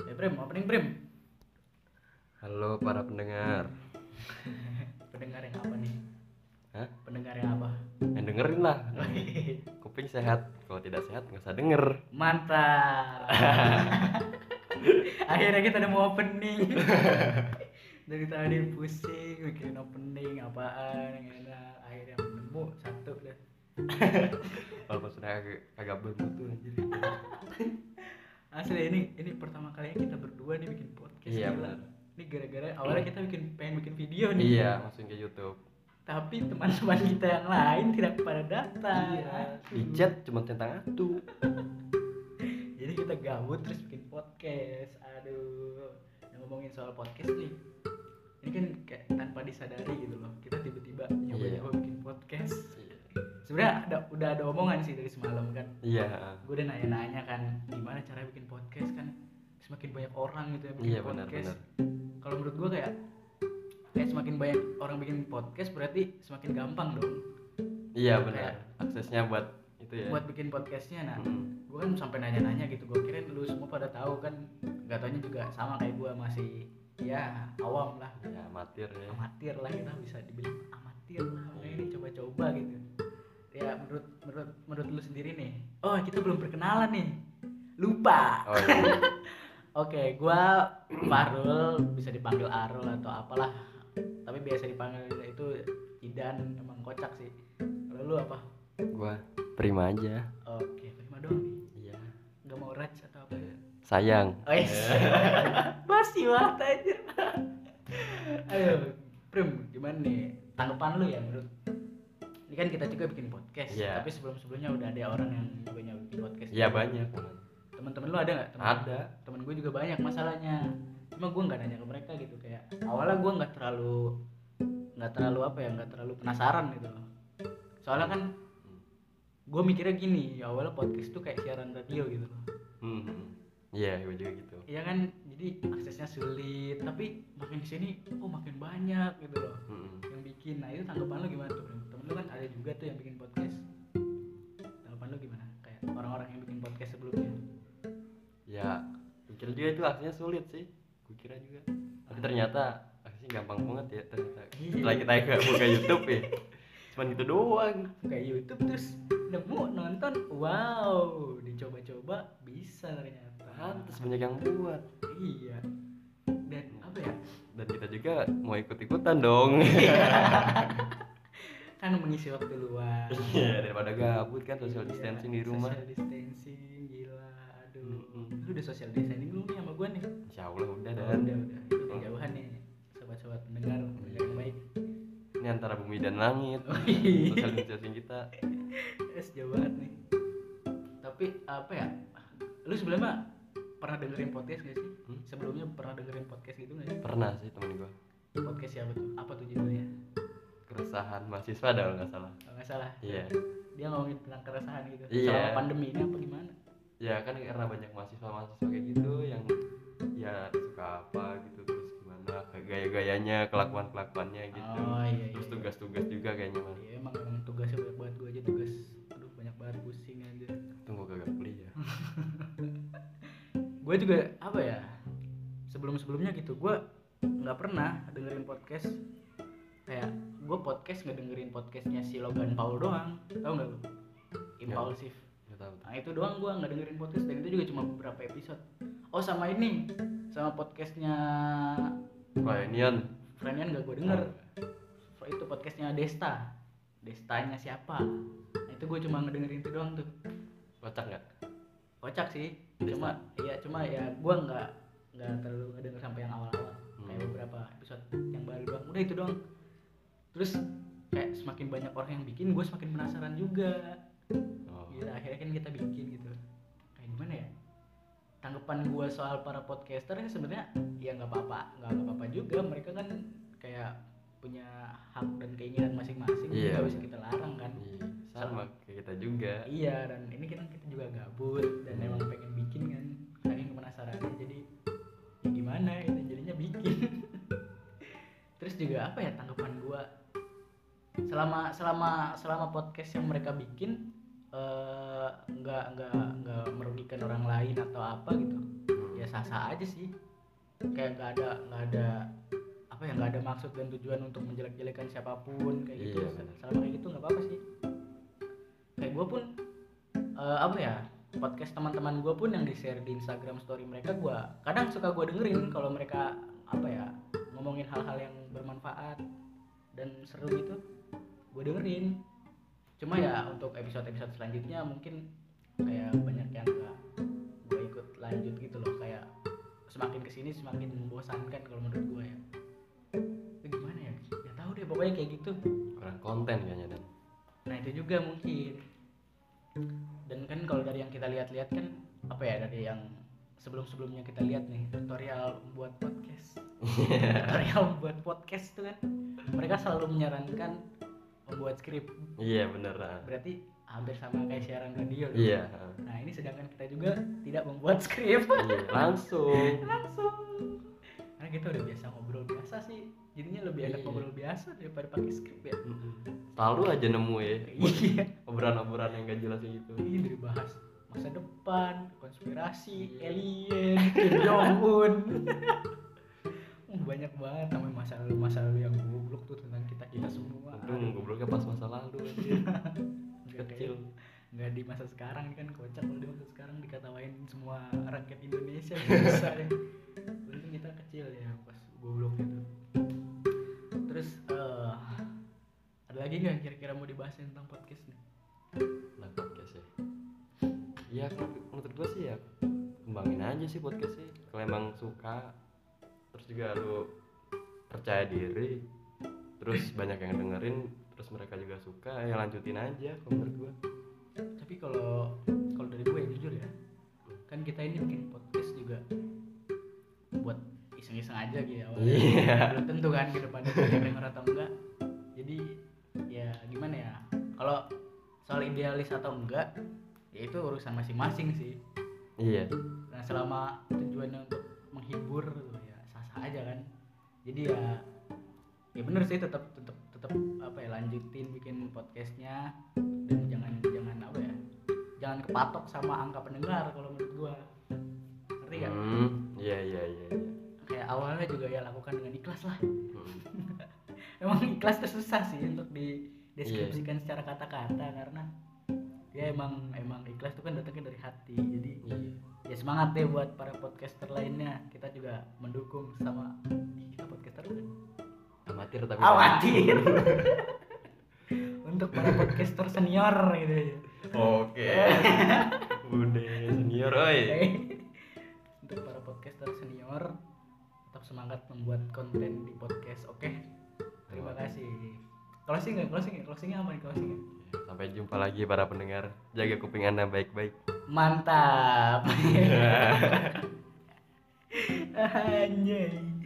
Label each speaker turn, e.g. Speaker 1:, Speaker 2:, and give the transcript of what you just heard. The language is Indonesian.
Speaker 1: Eh, Prim Prim.
Speaker 2: Halo para pendengar.
Speaker 1: Pendengar yang apa nih?
Speaker 2: Hah?
Speaker 1: Pendengar yang apa?
Speaker 2: Eh, dengerin lah. Kuping sehat. Kalau tidak sehat nggak usah denger.
Speaker 1: Mantap. Akhirnya kita udah mau opening. Dari tadi pusing bikin opening apaan yang enak. Akhirnya nemu satu deh.
Speaker 2: Walaupun sudah kag- kagak bermutu anjir.
Speaker 1: Asli ini ini pertama kalinya kita berdua nih bikin podcast.
Speaker 2: Iya,
Speaker 1: gila.
Speaker 2: benar.
Speaker 1: Ini gara-gara awalnya kita bikin pengen bikin video nih.
Speaker 2: iya, masukin ke YouTube.
Speaker 1: Tapi teman-teman kita yang lain tidak pada datang.
Speaker 2: Di chat cuma tentang atu.
Speaker 1: jadi kita gabut terus bikin podcast aduh Nah, ngomongin soal podcast nih ini kan kayak tanpa disadari gitu loh kita tiba-tiba nyoba-nyoba
Speaker 2: Iya.
Speaker 1: bikin podcast sebenarnya ada, udah ada omongan sih dari semalam kan
Speaker 2: Iya.
Speaker 1: gue udah nanya-nanya kan gimana cara bikin podcast kan semakin banyak orang gitu yang bikin
Speaker 2: Iya benar
Speaker 1: podcast
Speaker 2: benar.
Speaker 1: kalau menurut gue kayak kayak semakin banyak orang bikin podcast berarti semakin gampang dong
Speaker 2: Iya benar. Aksesnya buat itu ya.
Speaker 1: buat bikin podcastnya nah
Speaker 2: Mm.
Speaker 1: gue kan sampai nanya-nanya gitu gue kirain lu semua pada tahu kan gak taunya juga sama kayak gue masih ya awam lah
Speaker 2: Ya amatir ya.
Speaker 1: amatir lah kita bisa dibilang amatir lah makanya ini coba-coba gitu ya menurut menurut menurut lu sendiri nih oh kita belum perkenalan nih lupa
Speaker 2: Oh iya.
Speaker 1: oke gua Farul bisa dipanggil Arul atau apalah tapi biasa dipanggil itu Idan emang kocak sih kalau lu apa
Speaker 2: Gua terima aja.
Speaker 1: oke prima dong nih
Speaker 2: Iya.
Speaker 1: gak mau raj atau apa ya
Speaker 2: Sayang.
Speaker 1: Wes. Masih banget anjir. Ayo, Prim, gimana nih tanggapan lu ya menurut ini kan kita juga bikin podcast,
Speaker 2: Iya.
Speaker 1: tapi sebelum-sebelumnya udah ada orang yang juga nyoba bikin podcast.
Speaker 2: Iya banyak.
Speaker 1: Teman-teman lu ada nggak? Temen-
Speaker 2: Ada.
Speaker 1: Temen gue juga banyak masalahnya. Cuma gue nggak nanya ke mereka gitu kayak awalnya gue nggak terlalu nggak terlalu apa ya nggak terlalu penasaran gitu loh. Soalnya kan gue mikirnya gini, ya awalnya podcast tuh kayak siaran radio gitu loh.
Speaker 2: Hmm. Iya, gua juga gitu.
Speaker 1: Iya kan, jadi aksesnya sulit, tapi makin kesini, oh makin banyak gitu loh
Speaker 2: Mm.
Speaker 1: yang bikin. Nah itu tanggapan lu gimana tuh? Bro? Temen lu kan ada juga tuh yang bikin podcast. Tanggapan lu gimana? Kayak orang-orang yang bikin podcast sebelumnya.
Speaker 2: ya pikir juga itu aksesnya sulit sih gue kira juga tapi ternyata aksesnya gampang banget ya ternyata
Speaker 1: Iya.
Speaker 2: setelah kita agak buka YouTube ya cuman gitu doang
Speaker 1: Kayak YouTube terus nemu nonton, wow, dicoba-coba bisa ternyata.
Speaker 2: pantes banyak yang buat
Speaker 1: Iya. Dan apa ya?
Speaker 2: dan kita juga mau ikut ikutan dong
Speaker 1: Iya. Kan mengisi waktu luang.
Speaker 2: iya daripada gabut kan social
Speaker 1: Iya,
Speaker 2: distancing di rumah
Speaker 1: Social distancing gila. Aduh.
Speaker 2: Mm-mm.
Speaker 1: Lu udah social distancing belum nih sama gua nih?
Speaker 2: insya Allah udah
Speaker 1: Udah,
Speaker 2: dan
Speaker 1: udah, udah.
Speaker 2: Oh.
Speaker 1: Itu udah jauhan nih sobat-sobat pendengar pendengar yang baik.
Speaker 2: ini antara bumi dan langit
Speaker 1: Oh, iya.
Speaker 2: social distancing kita
Speaker 1: Es jauh banget Eh, nih. Tapi apa ya? Lu sebelumnya pernah dengerin podcast gak sih?
Speaker 2: Hmm?
Speaker 1: Sebelumnya pernah dengerin podcast gitu gak sih?
Speaker 2: pernah sih temen gue
Speaker 1: Podcast siapa tuh? Apa tuh judulnya?
Speaker 2: keresahan mahasiswa dah kalau nggak salah
Speaker 1: Kalau nggak salah.
Speaker 2: iya
Speaker 1: Dia ngomongin tentang keresahan gitu.
Speaker 2: Iya.
Speaker 1: Selama pandemi ini apa gimana?
Speaker 2: ya kan karena banyak mahasiswa-mahasiswa kayak gitu yang ya suka apa gitu terus gimana gaya-gayanya kelakuan-kelakuannya gitu
Speaker 1: Oh iya.
Speaker 2: terus
Speaker 1: iya.
Speaker 2: tugas-tugas juga kayaknya mas
Speaker 1: Iya emang emang tugasnya banyak banget gue aja tugas. Aduh banyak banget pusing aja.
Speaker 2: tunggu kagak kuliah
Speaker 1: gue juga apa ya sebelum sebelumnya gitu gue nggak pernah dengerin podcast kayak gue podcast nggak dengerin podcastnya si Logan Paul doang tau nggak lu impulsif
Speaker 2: nggak tahu tuh.
Speaker 1: nah itu doang gue nggak dengerin podcast dan itu juga cuma beberapa episode oh sama ini sama podcastnya
Speaker 2: Wah, Nian
Speaker 1: Frenian nggak gue denger itu podcastnya Desta Destanya siapa nah, itu gue cuma ngedengerin itu doang tuh
Speaker 2: kocak nggak
Speaker 1: kocak sih cuma iya cuma ya gua nggak nggak terlalu ngedenger sampai yang awal-awal kayak
Speaker 2: Hmm.
Speaker 1: beberapa episode yang baru doang udah itu doang terus kayak semakin banyak orang yang bikin gue semakin penasaran juga
Speaker 2: oh.
Speaker 1: gila akhirnya kan kita bikin gitu kayak gimana ya tanggapan gua soal para podcaster ya sebenarnya ya nggak apa-apa nggak nggak apa-apa juga mereka kan kayak punya hak dan keinginan masing-masing
Speaker 2: Iya.
Speaker 1: nggak bisa kita larang kan
Speaker 2: Iya, sama kayak kita juga
Speaker 1: Iya dan ini kita kita juga gabut dan emang pengen bikin kan saking penasarannya jadi ya gimana kita jadinya bikin terus juga apa ya tanggapan gua selama selama selama podcast yang mereka bikin eh, Iya. nggak nggak nggak merugikan orang lain atau apa gitu ya sah sah aja sih kayak nggak ada nggak ada apa ya nggak ada maksud dan tujuan untuk menjelek-jelekan siapapun kayak gitu
Speaker 2: Iya, benar.
Speaker 1: selama kayak gitu nggak apa-apa sih kayak gue pun eh, apa ya podcast teman-teman gue pun yang di share di Instagram story mereka gue kadang suka gue dengerin kalau mereka apa ya ngomongin hal-hal yang bermanfaat dan seru gitu gue dengerin cuma ya untuk episode-episode selanjutnya mungkin kayak banyak yang gak gue ikut lanjut gitu loh kayak semakin kesini semakin membosankan kalau menurut gue ya Tapi gimana ya ya tahu deh pokoknya kayak gitu
Speaker 2: kurang konten kayaknya dan
Speaker 1: nah itu juga mungkin dan kan kalau dari yang kita lihat-lihat kan apa ya dari yang sebelum-sebelumnya kita lihat nih tutorial buat podcast
Speaker 2: Iya.
Speaker 1: tutorial buat podcast tuh kan mereka selalu menyarankan membuat skrip
Speaker 2: iya bener ah.
Speaker 1: berarti hampir sama kayak siaran radio dong.
Speaker 2: iya ah.
Speaker 1: nah ini sedangkan kita juga tidak membuat skrip
Speaker 2: Iya, langsung
Speaker 1: langsung karena kita udah biasa ngobrol biasa sih jadinya lebih enak
Speaker 2: Iya.
Speaker 1: ngobrol biasa daripada pakai skrip ya
Speaker 2: selalu aja nemu ya
Speaker 1: iya
Speaker 2: obrolan-obrolan yang gak jelas kayak gitu
Speaker 1: ini dari bahas masa depan konspirasi
Speaker 2: Iya.
Speaker 1: alien Kim Jong Un Uh, banyak banget sama masa lalu masa lalu yang goblok tuh tentang kita kita Iya, semua Iya.
Speaker 2: untung gobloknya pas masa lalu aja
Speaker 1: Nggak
Speaker 2: kecil
Speaker 1: kayak- nggak di masa sekarang kan kocak kalau di masa sekarang dikatawain semua rakyat Indonesia bisa ya untung kita kecil ya pas goblok itu terus eh, ada lagi nggak kira-kira mau dibahas tentang podcast nih
Speaker 2: nah podcast ya iya kalau menurut gue sih ya kembangin aja sih podcast sih kalau emang suka terus juga lu percaya diri terus banyak yang dengerin terus mereka juga suka ya lanjutin aja kalau menurut gue
Speaker 1: tapi kalau kalau dari gue ya, jujur ya kan kita ini bikin podcast juga buat iseng-iseng aja gitu ya awalnya.
Speaker 2: Iya.
Speaker 1: belum tentu kan ke depannya ada yang denger atau enggak jadi ya gimana ya kalau soal idealis atau enggak ya itu urusan masing-masing sih
Speaker 2: iya
Speaker 1: nah selama tujuannya untuk menghibur gitu ya sah-sah aja kan jadi ya ya bener sih tetap tetap tetap apa ya lanjutin bikin podcastnya dan jangan jangan apa ya jangan kepatok sama angka pendengar kalau menurut gua ngerti gak?
Speaker 2: Hmm, iya iya iya iya.
Speaker 1: kayak awalnya juga ya lakukan dengan ikhlas lah
Speaker 2: Hmm.
Speaker 1: emang ikhlas tuh susah sih untuk dideskripsikan secara kata-kata karena ya emang emang ikhlas itu kan datangnya dari hati jadi
Speaker 2: iya
Speaker 1: ya semangat deh buat para podcaster lainnya kita juga mendukung sama Ih, kita podcaster bukan?
Speaker 2: amatir tapi
Speaker 1: amatir untuk para podcaster senior gitu ya
Speaker 2: oke udah senior oi
Speaker 1: untuk para podcaster senior tetap semangat membuat konten di podcast oke terima kasih closing nggak closing nggak closingnya apa nih closingnya
Speaker 2: sampai jumpa lagi para pendengar jaga kuping anda baik-baik
Speaker 1: mantap anjay